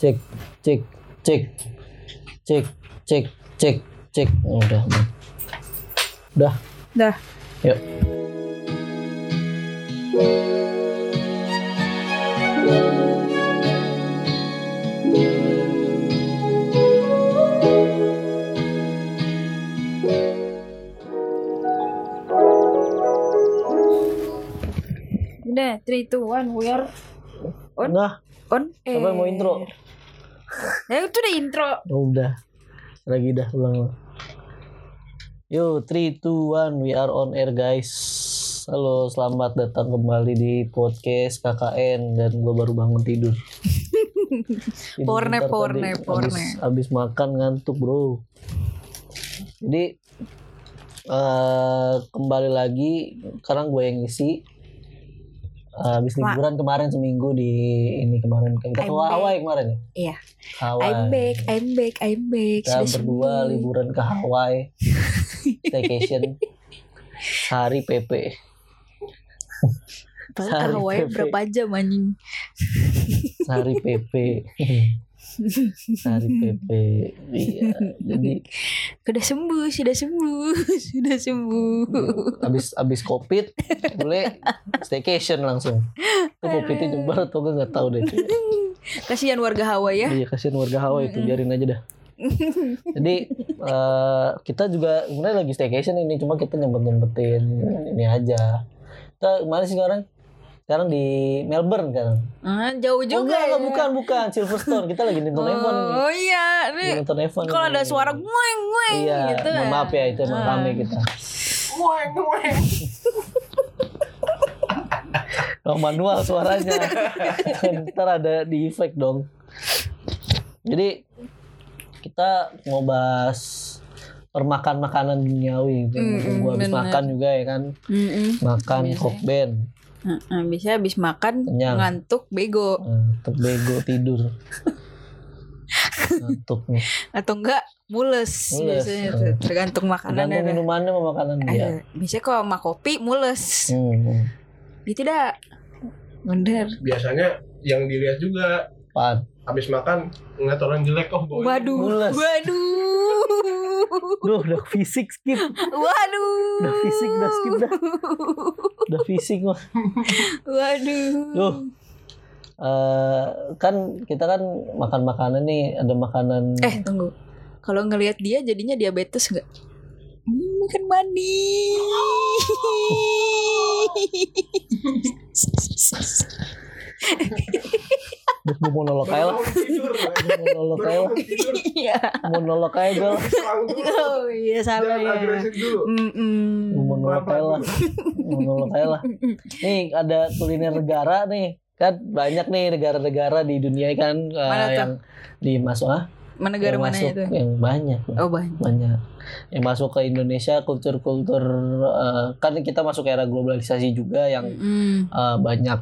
cek cek cek cek cek cek cek Oh, udah udah Dah. yuk Udah, 3, 2, 1, we are On. nah on air. siapa yang mau intro Ya itu udah intro. Oh, udah lagi dah ulang yo three two one we are on air guys halo selamat datang kembali di podcast KKN dan gue baru bangun tidur Tidur Power nap, bentar power tadi, nap, power abis- abis makan ngantuk bro jadi eh kembali lagi sekarang gue yang ngisi Eh, abis Ma- liburan kemarin seminggu di ini kemarin kita ke I'm back. Hawaii kemarin ya Iya. Hawaii I'm back, I'm back, I'm back. kita Sudah berdua sembuh. liburan ke Hawaii staycation sehari PP Padahal ke sehari Hawaii PP. berapa jam anjing? sehari PP sehari PP iya jadi Sudah sembuh, sudah sembuh, sudah sembuh. abis abis covid boleh staycation langsung tuh covidnya nyebar atau enggak nggak tahu deh Kasihan warga Hawaii ya. iya kasihan warga Hawaii itu biarin aja dah jadi eh, kita juga sebenarnya lagi staycation ini cuma kita nyempet nyempetin ini aja kita mana sih sekarang sekarang di Melbourne kan Ah, jauh Oh, juga. enggak, enggak, ya. bukan, bukan. Silverstone. Kita lagi nonton Evan ini. Oh iya, Lagi nih nonton Evan. kalau ada ini. suara ngueng ngueng Iya, gitu. mohon maaf ya itu emang rame kita. Dong manual suaranya. Ntar ada di efek dong. Jadi kita mau bahas permakan makanan duniawi. gitu. Mm, Gua habis bener. Iya makan juga ya kan, Mm-mm. makan Biasanya. kokben, Heeh, biasanya Ah, habis makan Kenyang. ngantuk bego Eh, terbego tidur. Ngantuk nih. atau enggak mules, Mules, biasanya eh. tuh. tergantung makanannya kan. Tergantung dah. minumannya sama makanan dia. Ada. Biasanya kalau sama kopi mules. Hmm. Ya tidak. Bener. biasanya yang dilihat juga Apaan? habis makan ngeliat orang jelek oh gue Waduh. Mules. Waduh. Duh, udah fisik skip. Waduh. Udah fisik, udah skip dah. Udah fisik mah. Waduh. Duh. Eh, kan kita kan makan makanan nih, ada makanan Eh tunggu. Kalau ngelihat dia jadinya diabetes nggak? Hmm, kan manis. Duh, gua monolog aja lah. tidur Gua Monolog aja lah. Bangun tidur Iya. Monolog aja gua lah. Pulang dulu. Oh iya sama jangan ya. agresif dulu Mm-mm. Gua Monolog aja lah. Monolog aja lah. Nih ada kuliner negara nih. Kan banyak nih negara-negara di dunia kan eh, Mana tuh? yang dimasuk ah, Mana negara yang mana masuk itu? yang banyak. Oh banyak. banyak yang masuk ke Indonesia kultur-kultur eh, kan kita masuk era globalisasi juga yang Hmm. Mm-mm. eh, banyak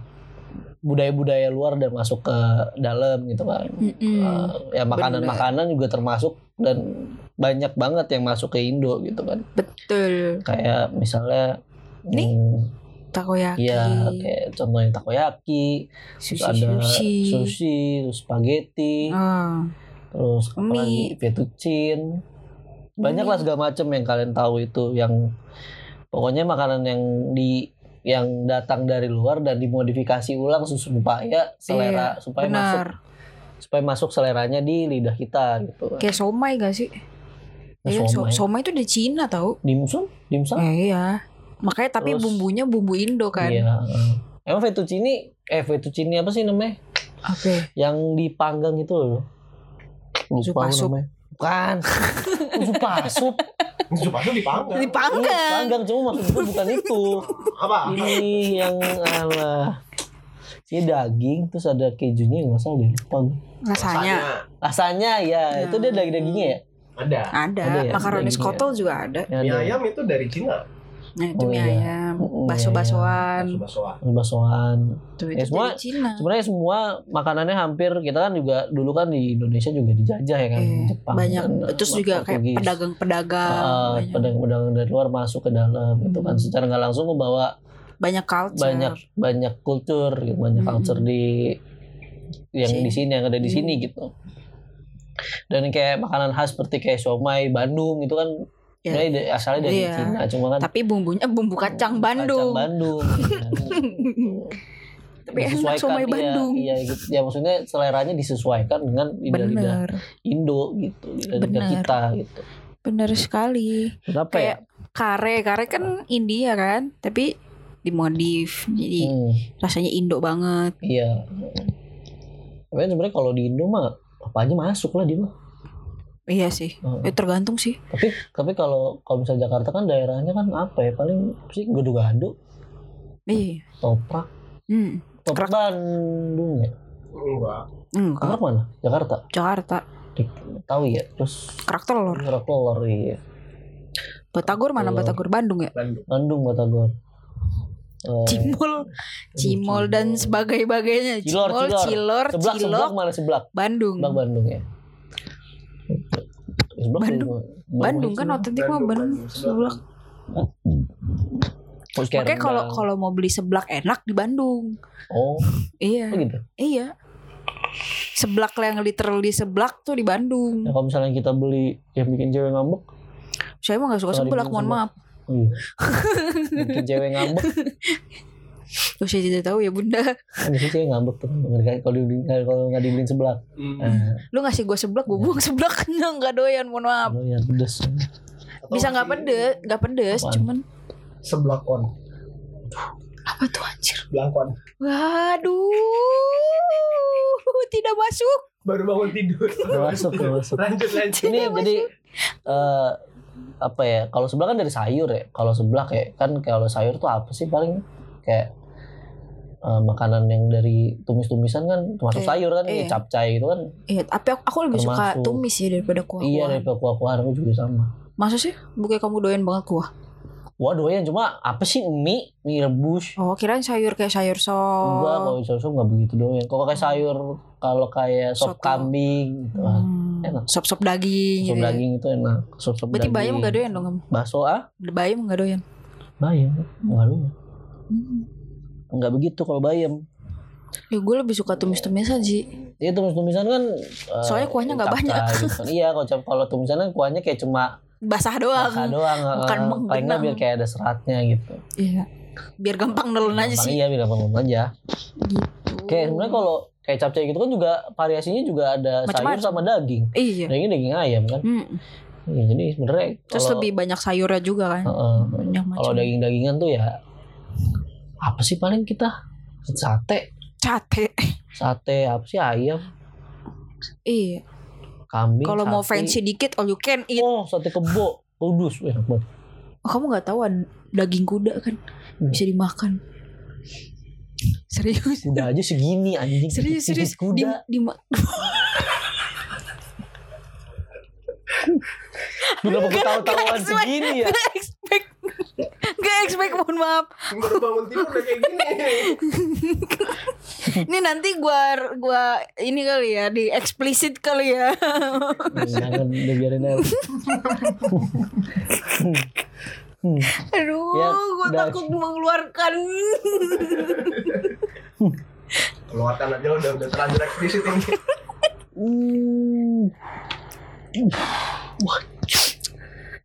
budaya-budaya luar dan masuk ke dalam gitu kan Mm-mm. Eh, ya makanan-makanan juga termasuk dan banyak banget yang masuk ke Indo gitu kan Betul. kayak misalnya Nih? hmm, Takoyaki. iya kayak contohnya takoyaki terus sushi, ada sushi. sushi terus spaghetti Ah. terus Mie. apalagi fettuccine banyak lah segala macem yang kalian tahu itu yang pokoknya makanan yang di yang datang dari luar dan dimodifikasi ulang supaya selera supaya masuk Iya, Benar. supaya masuk seleranya di lidah kita gitu Nah, Kayak somai gak sih? Iya, so- Ya, somai somai itu dari Cina tau? dimsum dimsum Ya, iya. Makanya tapi Terus- bumbunya bumbu Indo kan. iya emang fettuccine eh fettuccine apa sih namanya Apa? yang dipanggang itu loh lupa Supasup. namanya bukan supasup Masuk masuk dipanggang Dipanggang. Iya, panggang cuma maksud gue bukan itu apa ini yang alah ini daging terus ada kejunya nggak salah deh lupa gue. ya? Rasanya rasanya ya itu dia daging dagingnya ya ada Ada ada. ya, Makaroni dagingnya. skottel juga ada. Yang mie ada- ayam itu dari Cina Nah, Oh, itu mie iya. ayam, Mm, bakso-baksoan. bakso-baksoan ada baksoan Tuh, Ya, itu semua- dari Cina. sebenarnya semua makanannya hampir kita kan juga dulu kan di Indonesia juga dijajah ya kan Iya, Jepang banyak kan, terus juga kayak Portugis. pedagang-pedagang Ah, banyak, pedagang-pedagang dari luar masuk ke dalam gitu kan Hmm. secara nggak langsung membawa banyak culture banyak banyak kultur gitu, banyak Mm-mm. culture di yang Hmm. Sih. di sini yang ada di Hmm. sini gitu dan kayak makanan khas seperti kayak somai Bandung itu kan Ya. sebenarnya dari- asalnya dari Iya. Cina cuma kan Tapi bumbunya bumbu kacang Bandung. kacang Bandung gitu kan. Tapi enak somai iya, Bandung. iya, gitu. ya maksudnya seleranya disesuaikan dengan lidah-lidah Bener, Indo gitu lidah-lidah Bener. kita gitu bener sekali. kenapa ya Kayak kare, kare kan India kan, tapi dimodif jadi Hmm, rasanya Indo banget. iya tapi kan sebenarnya kalau di Indo mah apa aja masuk lah dia mah Iya sih, Heeh. Eh, tergantung sih. tapi tapi kalau kalau misalnya Jakarta kan daerahnya kan apa ya paling sih gado-gado Iya. toprak Hmm. toprak Kerak. Bandung ya Enggak. Enggak, kerak mana Jakarta Jakarta. tahu ya terus Kerak telur. kerak telur iya Batagor mana? Telur. Batagor Bandung ya? Bandung. Bandung Batagor Eh, Cimol, Cimol. cimol dan sebagainya. Cilor, Cimol, cilor. cilor, seblak seblak cilok, Hmm. mana seblak Bandung. seblak Bandung ya Seblak Bandung. juga- Bandung kan juga. otentik mah Bandung. Seblak. Terus kayak Makanya kalau rendang. kalau mau beli seblak enak di Bandung. oh Iya. oh gitu Iya. Seblak lah yang literally seblak tuh di ya, Bandung. kalau misalnya kita beli yang bikin cewek ngambek Saya emang gak suka Kalau di seblak, mohon Bandung maaf. iya. bikin cewek ngambek Loh, saya tidak tahu ya bunda. kan biasanya cewek ngambek tuh Nggak- kalau di kalau nggak dibeliin seblak Hmm. ah, Lu ngasih gue seblak, Iya. gue buang seblak. Nggak doyan, mohon maaf. lu yang Eh, oh iya, pedes Atau Bisa nggak masih pedes, nggak Iya. pedes, Apaan? cuman Seblakon. apa tuh anjir? Belangkon. Waduh, tidak masuk. Baru bangun tidur. Udah masuk udah masuk Lanjut lanjut. ini jadi eh apa ya kalau seblak kan dari sayur ya kalau seblak ya kan kalau sayur tuh apa sih paling kayak eh, makanan yang dari tumis-tumisan kan termasuk Iya, sayur kan iya. kayak capcay itu kan Iya, tapi aku, aku lebih suka Termasuk. tumis ya daripada kuah. iya dari kuah-kuahan aku juga sama Masa sih? Bukannya kamu doyan banget kuah? wah doyan cuma apa sih mie mie rebus Oh, kirain sayur kayak sayur enggak sop. kalau sayur sop nggak begitu doyan kalau kayak sayur kalau kayak sop Soto. kambing gitu lah. Hmm, enak. Sop-sop daging. Sop gitu ya. daging itu enak. Sop sop Berarti daging. bayam nggak doyan dong kamu? Bakso ah? Bayam nggak doyan. Bayam. Enggak doyan. Hmm. Enggak begitu kalau bayam. Ya, gue lebih suka tumis-tumisan sih. Ya tumis-tumisan kan eh, Soalnya kuahnya nggak capcay banyak. gitu kan. Iya, kalau cap- kalau tumisan kan kuahnya kayak cuma Basah basah doang. doang. eh, bukan Paling nggak menggenang. biar kayak ada seratnya gitu. Iya. Biar gampang nelen aja Gampang, sih. Iya, biar gampang aja. Gitu. Kayak sebenarnya kalau kayak capcay gitu kan juga variasinya juga ada sayur Macam-macam. sama daging. Iya. Daging daging ayam kan. Hmm. Iya, jadi sebenarnya Terus kalau- lebih banyak sayurnya juga kan. Heeh. Banyak macam. kalau daging-dagingan tuh ya apa sih paling kita sate Cate. sate apa sih ayam Iya. kambing Kalau mau sate. fancy dikit all you can eat. oh sate kebo kudus Wih, enak banget Oh, kamu nggak tahu ada daging kuda kan Hmm. bisa dimakan. Serius. kuda aja segini anjing Serius, serius. Tipis kuda Di, di, kenapa ketawa-tawaan Enggak, segini ya Gak expect Gak expect mohon maaf Baru bangun tidur udah kayak gini. Ini nanti gua gua Ini kali ya Di eksplisit kali ya jangan udah biarin aja Hmm. Aduh Ya, Gua udah. takut mengeluarkan Keluarkan aja udah udah terlanjur eksplisit ini. Hmm. Wah.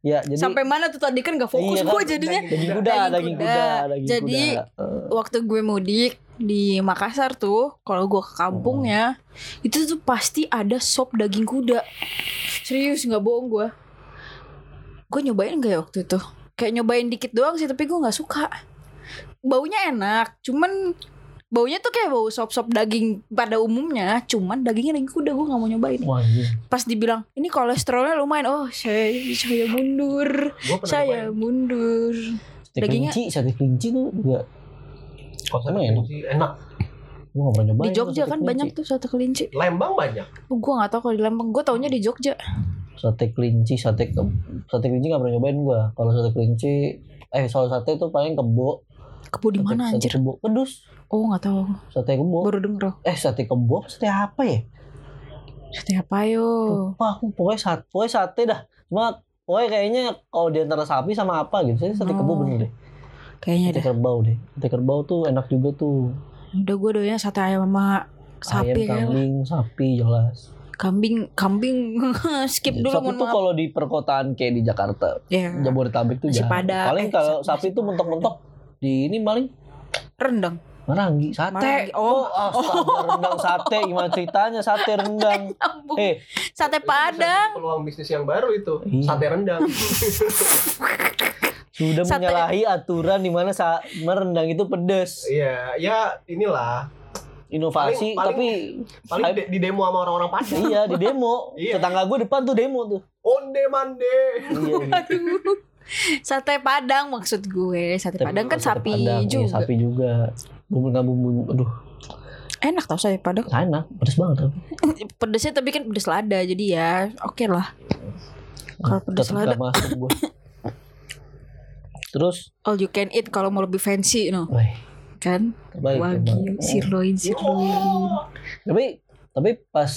ya jadi Sampai mana tuh tadi kan gak Iya, fokus gua kan, jadinya daging kuda Daging daging kuda. kuda daging Jadi, kuda. Eh, Waktu gue mudik Di Makassar tuh Kalau gua ke kampung Hmm. ya Itu tuh pasti ada sop daging kuda Serius gak bohong gua Gue nyobain gak ya waktu itu Kayak nyobain dikit doang sih Tapi gua gak suka Baunya enak Cuman Baunya tuh kayak bau sop-sop daging pada umumnya Cuman dagingnya daging kuda Gue gak mau nyobain wah anjing. Pas dibilang Ini kolesterolnya lumayan Oh saya, saya mundur Gue pernah Saya mundur Sate Dagingnya- kelinci, sate kelinci tuh juga Kok Emang enak? Enak. gua nggak pernah nyobain. Di tuh Jogja sate kan kelinci. banyak tuh sate kelinci Lembang banyak. Gue gak tau kalau di Lembang Gue taunya di Jogja Sate kelinci, sate ke... sate kelinci nggak pernah nyobain gua. Kalau sate kelinci, eh soal sate tuh paling kebo. Kebo Sate- di mana sate anjir? Kebo. Kedus. Oh nggak tahu, aku. Sate kebo. baru denger. aku. Eh sate kebo, apa sate apa ya? Sate apa yo? Lupa aku pokoknya sate, pokoknya sate dah. Cuma pokoknya kayaknya kalau di antara sapi sama apa gitu. Saya sate kebo Oh. iya bener deh. Kayaknya Sate deh. kerbau deh. Sate kerbau tuh enak juga tuh. Udah gue doyan sate ayam sama ayam Sapi kan. kambing sapi jelas Kambing, kambing skip dulu sapi mohon tuh maaf. kalau di perkotaan kayak di Jakarta Ya, Jabodetabek tuh Nasi jarang Padang. paling Eh, kalau nasi sapi tuh mentok-mentok di ini paling rendang. meranggi sate ah. Marangi. Oh. astaga rendang sate gimana ceritanya sate rendang Ambung. eh Sate Padang. Peluang bisnis yang baru itu. Iya. Sate rendang. sudah Sate- menyalahi aturan di mana sa- merendang itu pedes Iya, ya inilah. inovasi Paling- tapi Paling di, di demo sama orang-orang Padang. iya di demo Iya. tetangga gue depan tuh demo tuh Onde mande. iya, gitu. Aduh. Sate Padang maksud gue. Sate Tapi Padang kan sate sapi Padang, iya, juga. sapi juga bumbu nggak bumbu aduh Enak tau sate Padang. enak pedes banget tapi Pedesnya tapi kan pedes lada jadi ya oke lah. Kalau pedes Tetep lada nggak masuk gue terus all you can eat kalau mau lebih fancy no weh, kan terbaik wagyu emang. sirloin sirloin Oh. tapi tapi pas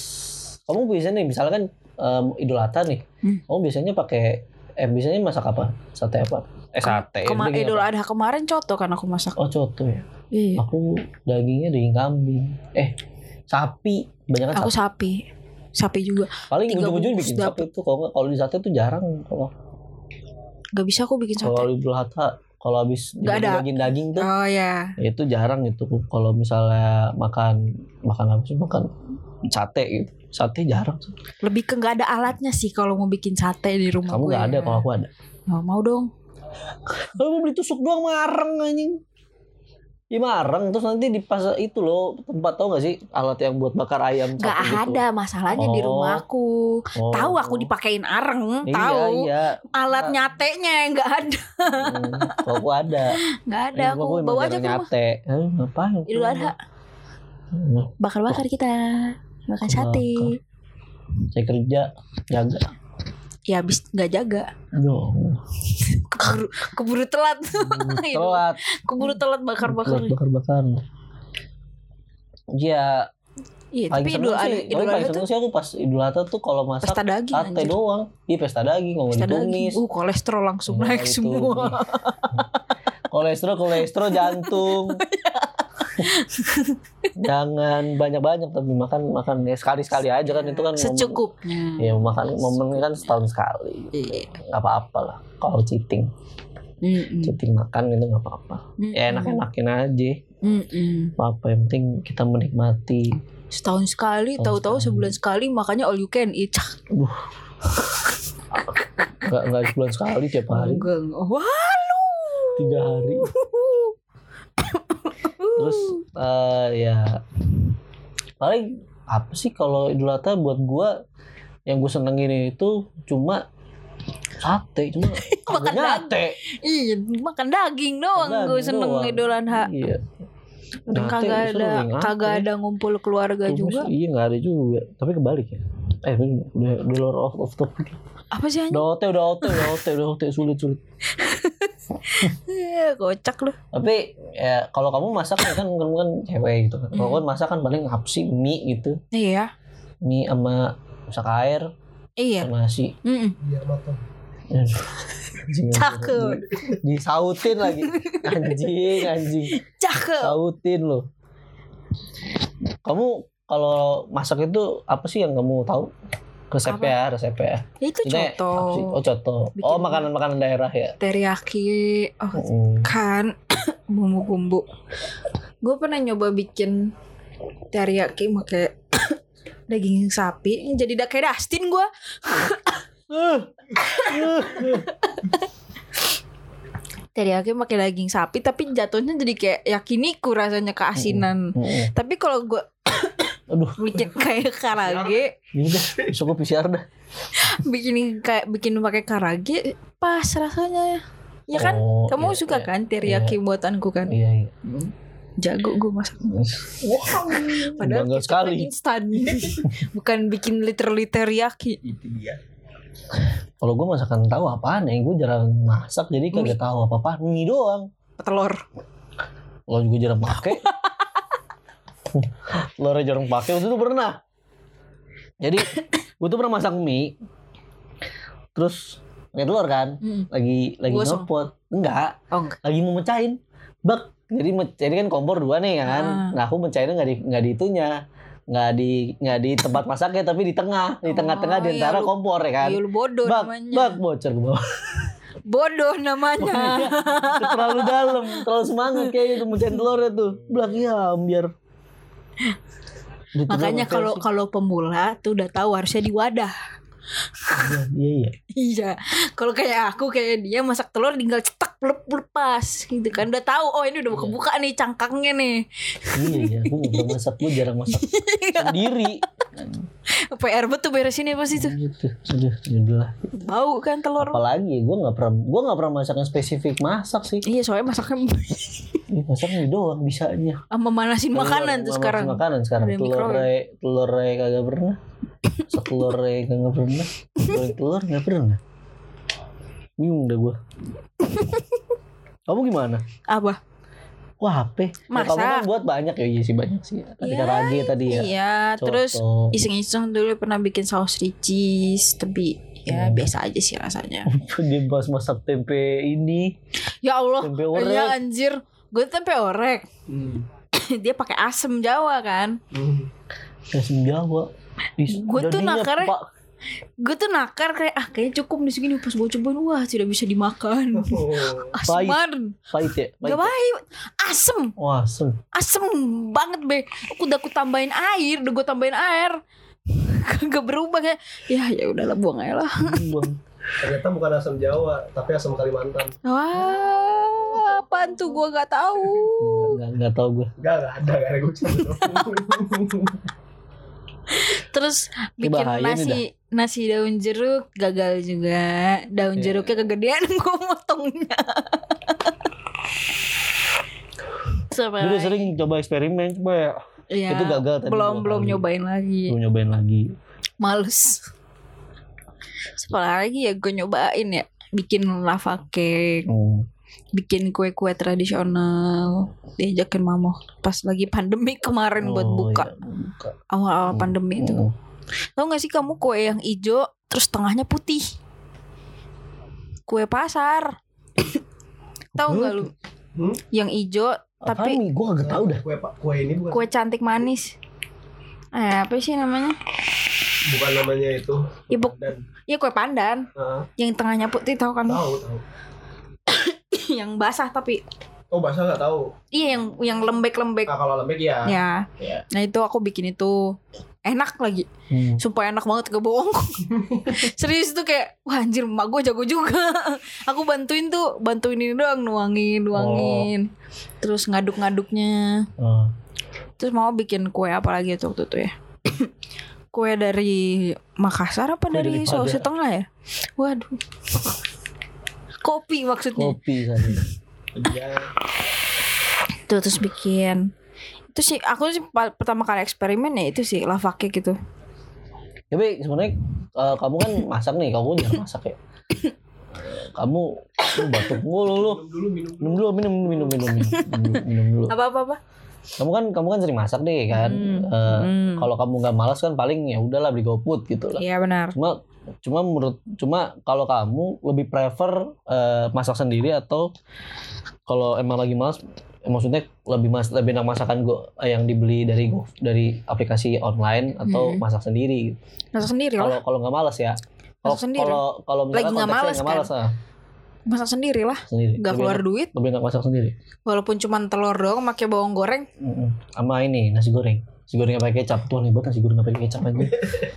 kamu biasanya nih misalkan em, idul adha nih Hmm. kamu biasanya pakai eh biasanya masak apa sate apa eh sate Kema daging Idul apa? Adha kemarin coto kan aku masak. oh coto ya Iya. aku dagingnya daging kambing eh sapi banyak iya. Aku sapi sapi. Sapi juga. paling tiga ujung-ujung bungkus bikin dapet. sapi tuh kalau nggak- kalau di sate tuh jarang kalau Gak bisa aku bikin kalau sate. idul adha kalau habis Nggak ada. daging daging tuh Oh ya. itu jarang gitu kalau misalnya makan makan apa sih makan sate gitu sate jarang sih. Lebih ke nggak ada alatnya sih kalau mau bikin sate di rumah kamu gue. nggak ada kalau aku ada Nggak mau dong. Kalau mau beli tusuk doang mareng anjing. Ya mareng terus nanti di pasar itu loh tempat tau gak sih alat yang buat bakar ayam Gak sapi gitu. ada masalahnya di Oh. rumahku. Oh. Tahu aku dipakein areng, Iya, tahu. iya. Alat nyatenya yang nggak ada. Hmm, Kalau aku ada. Nggak ada Eh, aku rumah gua emang bawa aja jarang ke rumah. nyate. Eh, ngapain? Idul Adha Hmm, bakal bakar kita. Makan sate. Saya kerja jaga. Ya habis nggak jaga. Dong. Keburu keburu telat. Telat. keburu telat Iya, bakar-bakar. Bakar bakar. Iya, Iya, paling tapi Idul seneng Adha sih. Idul paling Adha seneng tuh sih aku pas Idul Adha tuh kalau masak pesta daging sate anjir. doang. Iya pesta daging kalau Pesta daging. ditumis. Uh, kolesterol langsung Nah, naik itu semua. nih. kolesterol, kolesterol, jantung. Jangan banyak-banyak tapi makan makan ya sekali-sekali aja kan itu kan momen- secukupnya. Ya makan momen kan setahun sekali. Iya. Gak apa-apa lah kalau cheating. Mm-mm. Cheating makan itu gak apa-apa. Ya enak-enakin aja. Mm-mm. Apa yang penting kita menikmati. Setahun sekali, Setahun tahu-tahu sekali. sebulan sekali makanya all you can eat. Cak, Gak, gak sebulan sekali tiap hari. enggak, enggak. Wah, lu. Tiga hari. Terus eh, ya paling apa sih kalau Idul Adha buat gua yang gue senengin itu cuma sate cuma Makan kagak nyate Iya, makan daging doang gue Daging seneng doang. Idul Adha. iya Nyate, Dan Nah, kagak seru, ada nyate. kagak ada ngumpul keluarga Terus juga. iya nggak ada juga tapi kebalik ya eh udah di luar off off topic Apa sih anjing? udah ote udah ote udah ote udah ote sulit sulit Eh, Kocak lu. tapi ya kalau kamu masak ya kan kamu kan cewek gitu kan kalau Hmm. kan masak kan paling apa sih mie gitu Iya. mie sama masak air Iya. sama nasi Mm-mm. Iya, matang. Anjing, Cakep. anjing. disautin lagi anjing anjing Cakep. sautin loh kamu kalau masak itu apa sih yang kamu tahu resepnya resepnya ya Itu Maksudnya, apa sih? contoh oh coto oh Bikin- makanan makanan daerah ya teriyaki. Oh, Mm. kan bumbu kumbu gue pernah nyoba bikin teriyaki pakai daging sapi Ini jadi da kayak Dustin gue teriyaki pakai daging sapi tapi jatuhnya jadi kayak yakiniku rasanya keasinan Mm-mm. tapi kalau gue Aduh. bikin kayak karage Ini dah, besok gue PCR dah. bikin kayak bikin pakai karage pas rasanya ya kan Oh, kamu iya, suka iya. kan teriyaki buatanku kan Iya, iya. jago gue masak Wow. Padahal Bangga kita sekali. kan instan Bukan bikin literally teriyaki Itu dia. Kalau gue masakan tahu apaan ya, gue jarang masak jadi kagak tahu apa-apa. Mie doang. Telur Lo juga jarang pakai. Lo jarang pakai waktu itu pernah. Jadi gue tuh pernah masak mie. Terus nggak telur kan? Lagi lagi Gosong. nyopot. Enggak, Oh enggak lagi mau mecahin. Bak. Jadi me- jadi kan kompor dua nih kan. Ah. Nah, aku mecahinnya nggak di nggak di itunya. nggak di nggak di tempat masaknya tapi di tengah di Oh, tengah-tengah di iya, antara lu- kompor ya kan Iya, lu bodoh bak namanya. bak bocor ke bawah Bodoh namanya. terlalu dalam terlalu semangat kayaknya tuh mencain telurnya tuh belak ya biar Di tengah Makanya pakai kalau kalau pemula tuh udah tahu harusnya di wadah. sih. iya iya Iya. Kalau kayak aku kayak dia masak telur tinggal cetak plep lepas gitu kan udah tahu oh ini udah kebuka nih cangkangnya nih. iya iya gue nggak pernah masak gue jarang masak sendiri PR betul beresin ya pasti tuh. gitu sudah sudah lah Bau kan telur. apalagi gue nggak pernah gue nggak pernah masak yang spesifik masak sih Iya soalnya masaknya Ih, masak ini doang bisanya sama manasin makanan tuh Masak sekarang. makanan sekarang Ada yang telur microwave. re telur re kagak pernah masak telur re kagak pernah goreng telur nggak pernah bingung dah gue kamu gimana Apa? Wah HP Ya, kamu Masak. kan buat banyak ya Iya sih banyak sih Tadi Ya, karage tadi ya Iya, Coto. terus iseng-iseng dulu pernah bikin saus ricis, tapi ya Hmm. biasa aja sih rasanya. Dia bahas masak tempe ini Ya Allah, Tempe orek. ya anjir. Gue tempe orek. Hmm. Dia pakai asem Jawa kan. Kasih Jawa Di- Gua tuh jadinya, nakarnya- Pak. Gue tuh nakar kayak ah kayaknya cukup di sini pas gue cobain wah tidak bisa dimakan. Oh, Asman, Pahit ya ya? gak baik. Asem, Wah sen asem banget be. Aku udah aku tambahin air, udah gue tambahin air. Kagak berubah kayak ya ya udahlah buang aja lah. Bang. Ternyata bukan asam Jawa, tapi asam Kalimantan. Wah, apaan tuh gue nggak tahu. Nggak nggak tahu gue Enggak, enggak ada, enggak ada gue cuma Terus Ini bikin bahaya nih nasi nasi daun jeruk gagal juga. Daun Iya. jeruknya kegedean gue motongnya. Sama Gue udah lagi. sering coba eksperimen Coba ya Iya, itu gagal tadi Belum dua belum kali. nyobain lagi. Gue nyobain lagi Males. Sekolah lagi ya gue nyobain ya bikin lava cake, Hmm. bikin kue-kue tradisional, diajakin mama pas lagi pandemi kemarin buat Oh, buka iya, buka. awal-awal Hmm. pandemi itu. Hmm. Tahu gak sih kamu kue yang ijo terus tengahnya putih? Kue pasar. Tahu nggak lu? Hmm? Yang ijo Apaan tapi nih? Gue gak tau dah Kue Pak, kue ini bukan kue cantik manis. Eh, apa sih namanya? bukan namanya itu. Ibu Dan ya kue pandan ah, yang tengahnya putih tahu kan? tahu tahu. yang basah tapi Oh, bahasa enggak tahu. iya yang yang lembek-lembek. Nah, kalau lembek Ah. ya. Ya. Iya. Nah, itu aku bikin itu enak lagi. Hmm. Sumpah enak banget gak bohong Serius tuh kayak Wah anjir emak gue jago juga Aku bantuin tuh Bantuin ini doang Nuangin Nuangin Oh. Terus ngaduk-ngaduknya Ah. Terus mau bikin kue apa lagi tuh waktu itu ya Kue dari Makassar Kue apa dari dari Sulawesi Padang. Tengah ya Waduh Kopi maksudnya Kopi kali Iya. Tuh Gitu, terus bikin Itu sih Aku sih pa- pertama kali eksperimen ya itu sih Lava cake gitu Tapi sebenarnya eh, kamu kan masak nih, kamu jarang masak ya. Eh, kamu lu batuk mulu lu. Minum dulu, Minum dulu, minum dulu. minum minum minum minum minum, minum dulu. Apa-apa-apa Kamu kan kamu kan sering masak nih kan. Eh, Hmm. Hmm. Kalau kamu nggak malas kan paling ya udahlah beli GoFood gitu lah. Iya benar Cuma cuma menurut cuma kalau kamu lebih prefer eh, masak sendiri atau kalau emang lagi malas eh, maksudnya lebih mas lebih enak masakan go, eh, yang dibeli dari Go- dari aplikasi online atau Hmm. masak sendiri gitu. Masak sendiri lah kalau kalau nggak malas ya kalau Masak sendiri. kalau kalau misalkan Lagi nggak konteksnya malas nggak malas ah, Masak sendiri lah sendiri Gak Lebih keluar enak- duit lebih nggak masak sendiri Walaupun cuman telur doang pakai bawang goreng Mm-mm. sama ini nasi goreng nasi goreng nggak pakai kecap tuh nih buat nasi goreng nggak pakai kecap aja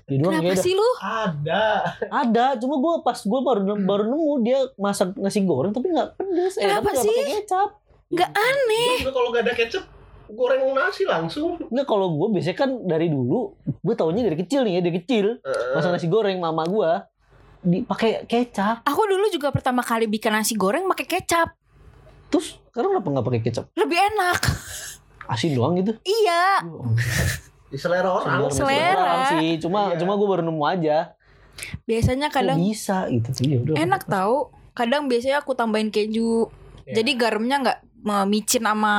di doang Kenapa ya udah. sih lu? Ada. ada cuma gue pas gue baru baru nemu dia masak nasi goreng tapi nggak pedes eh Hmm. Kenapa tapi nggak sih? pakai kecap Gak aneh Gua juga kalau enggak ada kecap, goreng nasi langsung. Nggak kalau gue biasanya kan dari dulu gue taunya dari kecil nih ya dari kecil Eh. Heeh. masak nasi goreng mama gue dipakai kecap Aku dulu juga pertama kali bikin nasi goreng pakai kecap terus sekarang kenapa nggak pakai kecap Lebih enak asin doang gitu Iya Di selera Sebenarnya orang. selera. orang sih cuma Iya. cuma gue baru nemu aja Biasanya Kok kadang bisa gitu sih ya udah enak tau Kadang biasanya aku tambahin keju Iya. Jadi garamnya gak micin Hmm, sama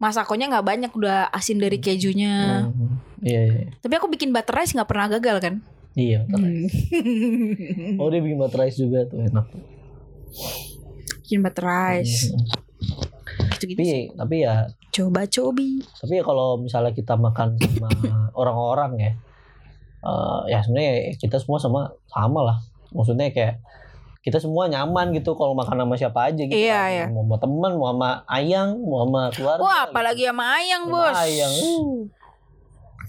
masakonya gak banyak Udah asin dari kejunya Hmm. Hmm. iya iya Tapi aku bikin butter rice gak pernah gagal kan iya betul. Hmm. oh dia bikin butter rice juga tuh enak Bikin butter rice Hmm. Gitu-gitu tapi sih. tapi ya coba cobi tapi ya kalau misalnya kita makan sama orang-orang ya eh, ya sebenarnya kita semua sama sama lah maksudnya kayak kita semua nyaman gitu kalau makan sama siapa aja gitu Iya, kan. iya. mau sama teman mau sama ayang mau sama keluarga wah gitu. apalagi sama ayang Sama bos ayang. Uh.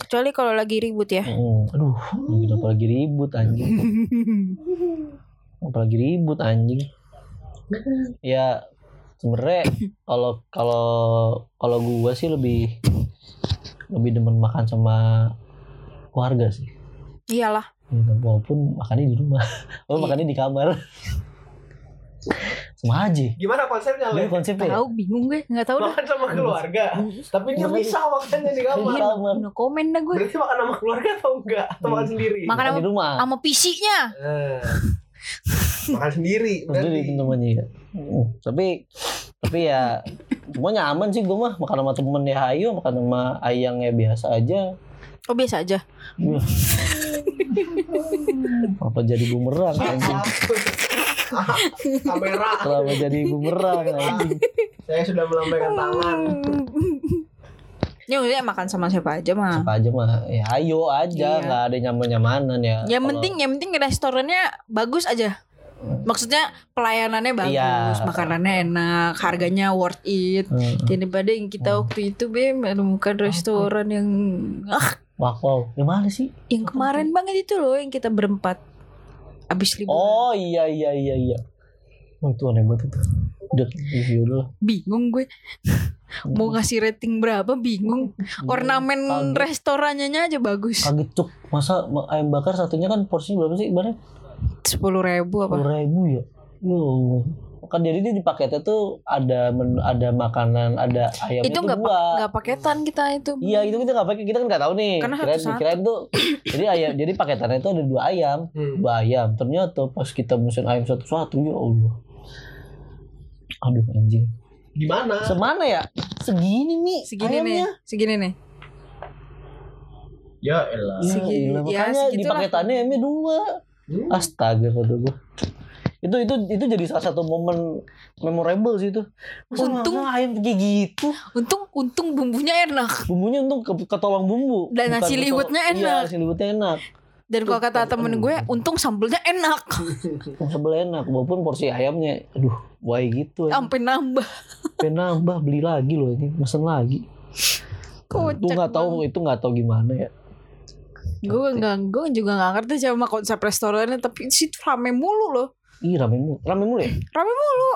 kecuali kalau lagi ribut ya Mm, aduh gitu, apalagi ribut anjing apalagi ribut anjing ya sebenarnya kalau kalau kalau gua sih lebih lebih demen makan sama keluarga sih iyalah gitu. walaupun makannya di rumah walaupun Iya. makannya di kamar sama aja Gimana konsepnya ini Le? konsepnya ya? tahu bingung gue nggak tahu dah Makan sama keluarga. Tapi dia bisa makannya di kamar. Iya. Kamar. no komen dah gue Berarti makan sama keluarga atau enggak? Atau makan sendiri? Makan makan di rumah sama PC-nya Eh. makan sendiri. Iya. sendiri berarti. temennya ya. Mm, tapi tapi ya cuma nyaman sih gua mah makan sama temen ya ayo makan sama ayang ya biasa aja oh biasa aja apa jadi bumerang Iya. anjing Ah, Kamera. kenapa jadi bumerang Iya. anjing Saya sudah melambaikan tangan. ya udah makan sama siapa aja mah apa aja mah ya ayo aja Iya. nggak ada nyaman nyamanan ya Yang Kalau- penting yang penting restorannya bagus aja. Maksudnya pelayanannya bagus, Iya. makanannya enak, harganya worth it. Mm, mm. Daripada yang kita waktu itu be menemukan restoran yang ah wah wow yang mana sih yang kemarin banget itu loh yang kita berempat abis liburan. Oh iya iya iya iya. Oh, itu aneh banget itu. Udah review dulu. lah. Bingung gue Hmm. mau ngasih rating berapa bingung. Ornamen Kaget. restorannya aja bagus. kaget cuk masa ma- ayam bakar satunya kan porsinya berapa sih ibaratnya Sepuluh ribu apa? sepuluh ribu ya Yo. kan jadi dia di paketnya tuh ada menu, ada makanan ada ayamnya Itu tuh nggak Ya, dua. nggak paketan kita itu. iya itu kita nggak pakai kita kan nggak tahu nih Karena kirain satu-satu. kirain tuh jadi ayam jadi paketannya itu ada dua ayam Hmm. dua ayam ternyata pas kita musim ayam satu satu ya allah aduh anjing Gimana? semana ya segini nih Segini nih, ayamnya. segini nih. Ya elah. Ya, Segi- ilah, ya, makanya di segitulah. paketannya ayamnya dua Hmm. Ah, Astaga kata gua. Itu itu itu jadi salah satu momen memorable sih itu. Masa Untung- masak ayam kayak gitu. Untung untung bumbunya enak. Bumbunya untung ke, ketolong bumbu. Dan nasi ketolong- liwetnya Iya, enak. nasi liwetnya enak. Dan kalau kata temen gue, untung sambelnya enak. Yang sebel enak walaupun porsi ayamnya aduh, why gitu ya. Sampai nambah. Pengen nambah beli lagi loh ini, mesen lagi. Kocak Itu nggak tahu itu nggak tahu gimana ya. Gue nggak, gue juga nggak ngerti sama konsep restorannya, tapi situ rame mulu loh. Ih, rame mulu. Rame mulu ya? Rame mulu.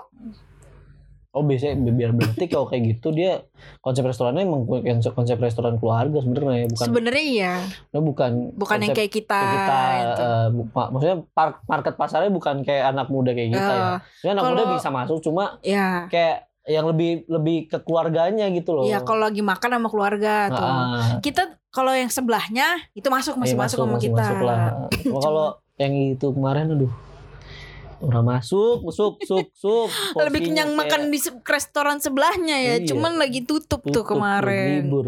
Oh, biasanya bi- biar berarti kalau kayak gitu dia konsep restorannya emang konsep konsep restoran keluarga sebenarnya ya, bukan Sebenarnya iya, Nah, bukan bukan yang konsep kayak kita. kayak kita gitu. eh, bu- ma- maksudnya par- market pasarnya bukan kayak anak muda kayak kita ya. Eh, Maksudnya anak kalau- muda bisa masuk cuma ya, kayak yang lebih lebih ke keluarganya gitu loh. ya kalau lagi makan sama keluarga tuh. Ah, Kita kalau yang sebelahnya itu eh, masuk masih masuk, sama masih kita. masuk lah. Cuma kalau yang itu kemarin aduh udah masuk, sup, sup, sup. Lebih kenyang makan di se- restoran sebelahnya ya, Iya. cuman lagi tutup, tuh kemarin. Libur.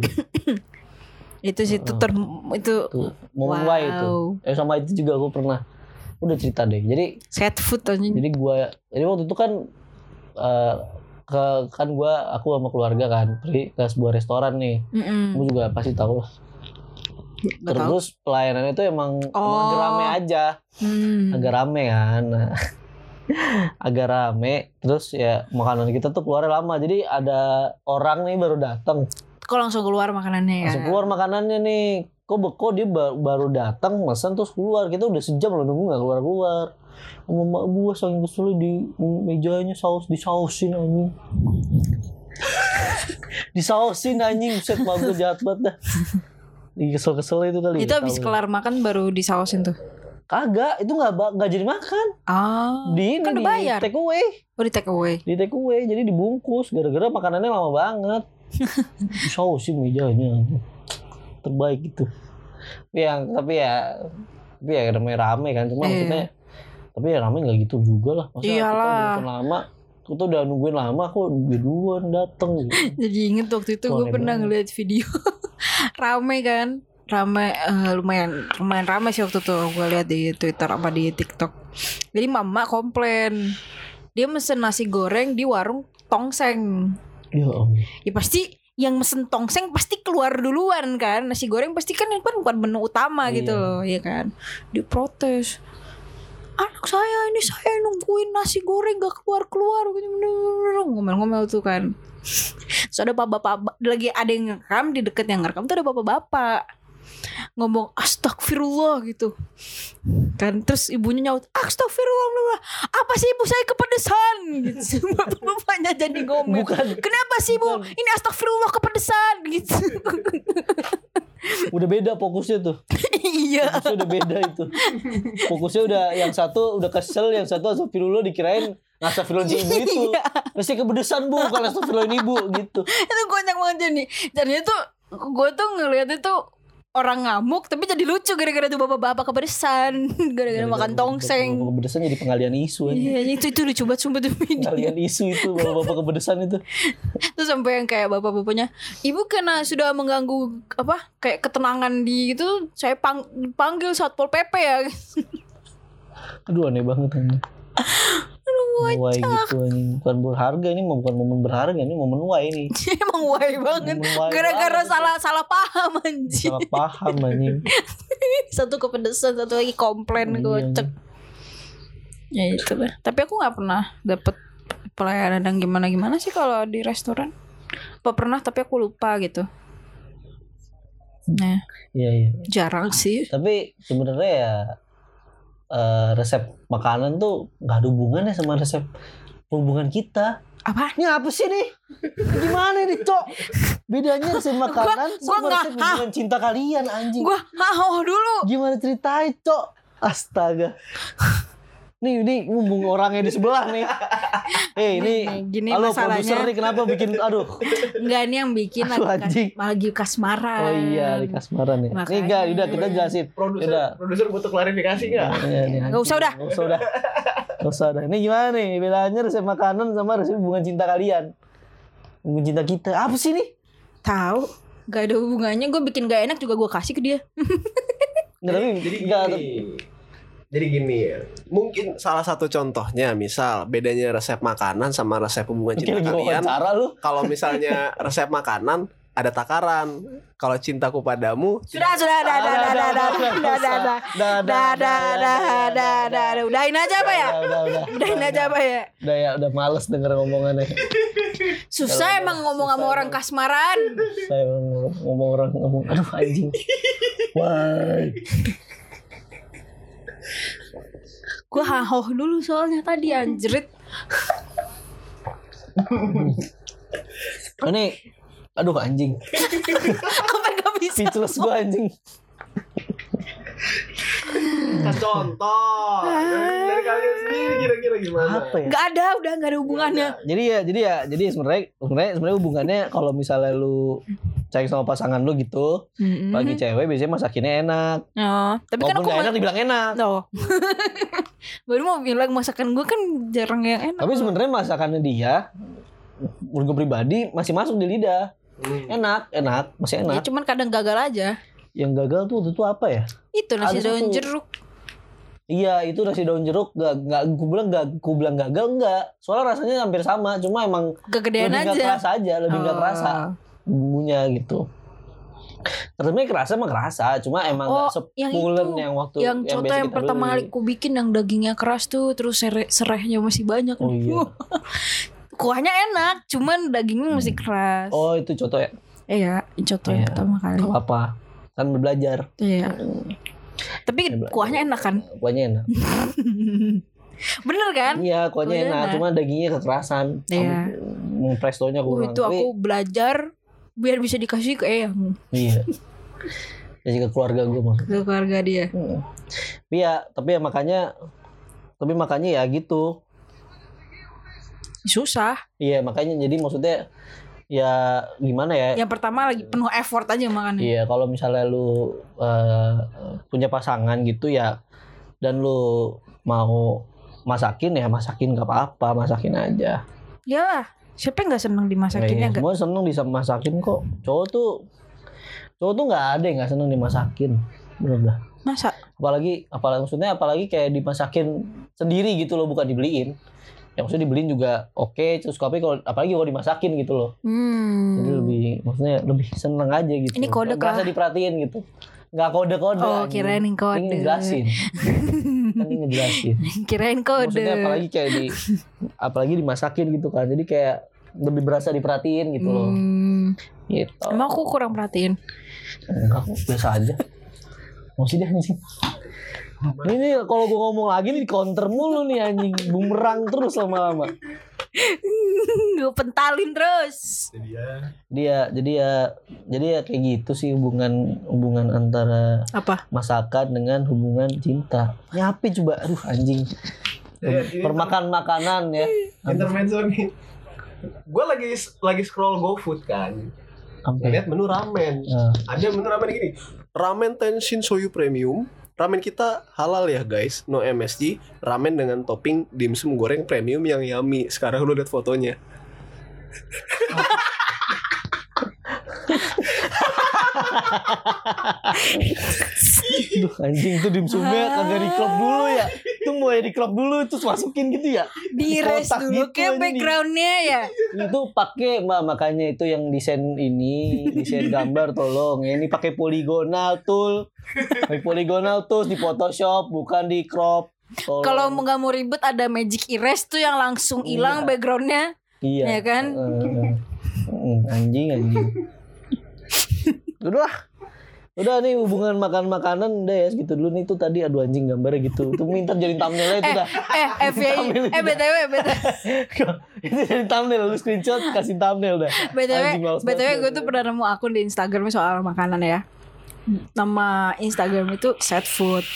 Itu sih itu ter itu Tuh, momen why itu. Eh sama itu juga gue pernah udah cerita deh. Jadi Set food anjing. jadi gua jadi waktu itu kan eh, ke kan gua aku sama keluarga kan pergi ke sebuah restoran nih Mm-mm. Gua juga pasti tahu lah Nggak Hmm. tahu. terus pelayanannya itu emang, emang agak Oh. rame aja Hmm. agak rame kan Nah, agak rame terus ya makanan kita tuh keluar lama jadi ada orang nih baru datang Kok langsung keluar makanannya ya? langsung keluar makanannya nih kok beko dia ba- baru datang mesen terus keluar kita udah sejam loh nunggu nggak keluar keluar sama mak gua saking kesel di mejanya saus disausin anjing disausin anjing set mak gua jahat banget dah kesel kesel itu kali Itu habis Tahu. kelar makan baru disausin tuh. kagak itu nggak ba- nggak jadi makan Ah, di ini kan di udah bayar. take away Oh, di take away. di take away jadi dibungkus gara-gara makanannya lama banget disausin mejanya terbaik gitu tapi yang tapi ya tapi ya rame-rame kan cuma Iya. maksudnya tapi ya rame nggak gitu juga lah masa kita Iyalah. nungguin lama kita udah nungguin lama kok dia duluan dateng gitu Jadi inget waktu itu Wah, gue aneh pernah banget. ngeliat video rame kan? Rame eh, lumayan lumayan rame sih waktu itu gue lihat di Twitter apa di TikTok. Jadi mama komplain. Dia mesen nasi goreng di warung Tongseng. ya om Ya pasti yang mesen tongseng pasti keluar duluan kan nasi goreng pasti kan itu kan bukan menu utama Iya. gitu loh ya kan diprotes anak saya ini saya nungguin nasi goreng gak keluar keluar ngomel-ngomel tuh kan Terus ada bapak-bapak lagi ada yang ngerekam di deket yang ngerekam tuh ada bapak-bapak ngomong astagfirullah gitu kan terus ibunya nyaut astagfirullah bla, bla. apa sih ibu saya kepedesan gitu bapak-bapaknya jadi ngomel Bukan. kenapa sih ibu Bukan. ini astagfirullah kepedesan gitu Udah beda fokusnya tuh. iya Fokusnya udah beda itu. Fokusnya udah yang satu udah kesel, yang satu astagfirullah dikirain astagfirullah si ibu itu. Iya. Pasti kepedesan bu, kalau astagfirullah ini bu gitu. itu konyol banget jadi jadinya tuh gue tuh ngeliat itu orang ngamuk tapi jadi lucu gara-gara tuh bapak-bapak kepedesan gara-gara makan tongseng Iya, Kepedesan jadi pengalian isu aja. Iya, itu itu lucu banget sumpah tuh video. Pengalian isu itu bapak-bapak kepedesan itu. Terus sampai yang kayak bapak-bapaknya, ibu karena sudah mengganggu apa kayak ketenangan di itu, saya pang- panggil satpol pp ya. Aduh aneh banget anjing. Aduh, Wai gitu anjing. Bukan berharga ini mah bukan momen berharga ini momen wai ini. wajib. emang wai banget. Momen wai Gara-gara banget. salah salah paham anjir. salah paham anjing. Satu kepedesan, satu lagi komplain Iya. gocek. Ya itu lah. Tapi aku nggak pernah dapet pelayanan yang gimana-gimana sih kalau di restoran. Apa pernah tapi aku lupa gitu. Nah, Iya iya. jarang sih. Tapi sebenarnya ya eh, resep makanan tuh nggak ada hubungannya sama resep hubungan kita. Apa? Ini apa sih nih? Gimana nih, Cok? Bedanya resep makanan gua sama nggak- resep hubungan cinta kalian anjing. Gua hahoh dulu. Gimana ceritain, Cok? Astaga. Nih, ini mumbung orangnya di sebelah nih. Eh, ini gini Halo produser masalahnya nih kenapa bikin aduh enggak ini yang bikin Aduh, anjing. lagi, kas- lagi kasmaran. oh iya di kasmaran ya. Nih Makanya. enggak udah kita jelasin. Produser, Udah. produser butuh klarifikasi nggak? Enggak Nggak usah, udah. Enggak usah udah. Nggak usah udah. Ini gimana nih bedanya resep makanan sama resep hubungan cinta kalian? Hubungan cinta kita. Apa sih nih? Tahu? Gak ada hubungannya gue bikin gak enak juga gue kasih ke dia. Enggak tapi Jadi enggak gini. Jadi gini ya. Mungkin salah satu contohnya misal bedanya resep makanan sama resep hubungan Mungkin lagi cinta kalian. wawancara lu. Kalau misalnya resep makanan ada takaran. Kalau cintaku padamu Sudah sudah dah dah dah dah dah dah dah dah dah Dah, dah dah dah dah dah dah udahin aja apa ya? Udah, udah, udah. Udahin aja apa ya? Udah ya, udah males denger ngomongannya. Susah emang ngomong sama orang kasmaran. Saya ngomong, ngomong orang ngomong, aduh anjing. Wah. Gue hahoh dulu soalnya tadi anjrit. Ini, aduh anjing. Apa gak bisa? Speechless gue anjing. contoh dari, dari kalian sendiri kira-kira gimana? Apa ya? Gak ada udah gak ada hubungannya. Jadi ya, jadi ya, jadi sebenarnya sebenarnya sebenarnya hubungannya kalau misalnya lu cek sama pasangan lu gitu, Mm-mm. bagi cewek biasanya masakinnya enak. Oh, tapi kan Walaupun aku gak ma- enak dibilang enak. Oh. Baru mau bilang masakan gue kan jarang yang enak. Tapi sebenarnya masakannya dia menurut gue pribadi masih masuk di lidah. Hmm. Enak, enak, masih Ya enak. cuman kadang gagal aja. Yang gagal tuh waktu itu apa ya? Itu Ada nasi daun satu- jeruk. Iya itu nasi daun jeruk gak, gak gue bilang gak gue bilang gagal enggak soalnya rasanya hampir sama cuma emang Kegedean lebih gak aja. kerasa aja lebih gak Oh. kerasa bumbunya gitu Terusnya kerasa emang kerasa cuma emang Oh, gak yang sepulen itu. yang waktu yang contoh biasa yang kita pertama beli. kali ku bikin yang dagingnya keras tuh terus sere- serehnya masih banyak. Oh, iya. Kuahnya enak, cuman dagingnya masih keras. Hmm. Oh itu contoh ya Iya, contoh Iya. yang pertama kali. Gak apa kan belajar Iya. Tapi Iya, kuahnya enak kan? kuahnya enak Bener kan? iya kuahnya Kuahnya enak enak. cuma dagingnya kekerasan Iya. Am- prestonya Oh, kurang itu aku belajar biar bisa dikasih ke eh, eyang iya jadi ke keluarga gue mah ke keluarga dia. Hmm. Tapi ya, tapi ya makanya, tapi makanya ya gitu. Susah. Iya makanya jadi maksudnya ya gimana ya? Yang pertama lagi penuh effort aja makannya. Iya kalau misalnya lu eh, punya pasangan gitu ya, dan lu mau masakin ya masakin gak apa-apa masakin aja. Iyalah, siapa yang nggak seneng dimasakinnya Iya, enggak? semua seneng bisa masakin kok. Cowok tuh cowok tuh nggak ada yang nggak seneng dimasakin. Bener dah. Masa? Apalagi apalagi maksudnya apalagi kayak dimasakin sendiri gitu loh bukan dibeliin. yang maksudnya dibeliin juga oke terus tapi kalau apalagi kalau dimasakin gitu loh Hmm. jadi lebih maksudnya lebih seneng aja gitu Ini kode Nggak merasa diperhatiin gitu nggak kode kode Oh, kirain kode. ini ngejelasin kan ini ngejelasin Kirain kode. maksudnya apalagi kayak di apalagi dimasakin gitu kan jadi kayak lebih berasa diperhatiin gitu loh Hmm. gitu Emang aku kurang perhatiin. enggak kok, Eh, biasa aja maksudnya anjing ini nih, kalau gue ngomong lagi nih di counter mulu nih anjing bumerang terus lama-lama Gue pentalin terus. Jadi ya. dia jadi ya jadi ya kayak gitu sih hubungan hubungan antara Apa? masakan dengan hubungan cinta nyapi coba aduh anjing Ya, ini permakan makanan ya Intermezzo nih. Gue lagi lagi scroll GoFood kan. sampai Lihat menu ramen. Nah, Ada menu ramen gini. Ramen Tenshin Soyu Premium. Ramen kita halal ya guys, no MSG. Ramen dengan topping dimsum goreng premium yang yummy. Sekarang lu lihat fotonya. Duh, anjing itu dimsumnya kagak di crop dulu ya itu mulai di crop dulu terus masukin gitu ya Di res Kotak dulu gitu, kayak anjing. backgroundnya ya. itu pakai mah makanya itu yang desain ini desain gambar tolong Ya, ini pakai poligonal tool pakai poligonal tools di Photoshop bukan di crop Oh, Tolong. Kalau mau nggak mau ribet ada magic erase tuh yang langsung Iya. hilang backgroundnya. iya ya kan? Heeh. Heeh, anjing anjing udah lah. udah nih hubungan makan makanan udah ya gitu dulu nih itu tadi aduh anjing gambarnya gitu tuh minta jadi thumbnailnya itu Eh, dah eh, FBI, eh, BTW, BTW, itu jadi thumbnail lu screenshot kasih thumbnail dah BTW, Anjing, males banget BTW ya. gue tuh pernah nemu akun di Instagram soal makanan ya. Nama Instagram itu sad food.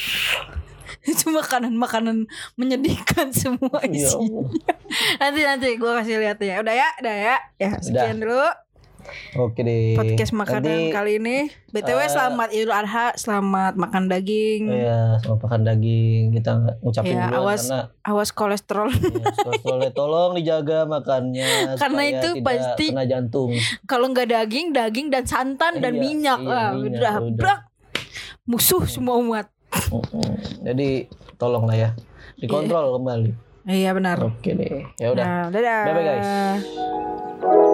Itu makanan-makanan menyedihkan semua Ya isinya. Allah. Nanti nanti gue kasih lihat ya. Udah ya, udah ya. Ya, sekian dulu oke deh podcast makanan Nanti- kali ini. BTW eh, selamat Idul Adha, selamat Oh makan daging. Iya, sama makan daging kita nggak ngucapin Hmm. Iya, duluan awas. karena Awas kolesterol. ya, soalnya tolong dijaga makannya Karena supaya itu tidak pasti kena jantung. Kalau nggak daging, daging dan santan dan Iya, minyak. iya, Ah, minyak, udah, udah. brak. Musuh semua umat. Mm-mm. Jadi tolonglah ya, dikontrol kembali. Iya benar. Oke deh, ya udah. Nah, dadah. Bye-bye, guys.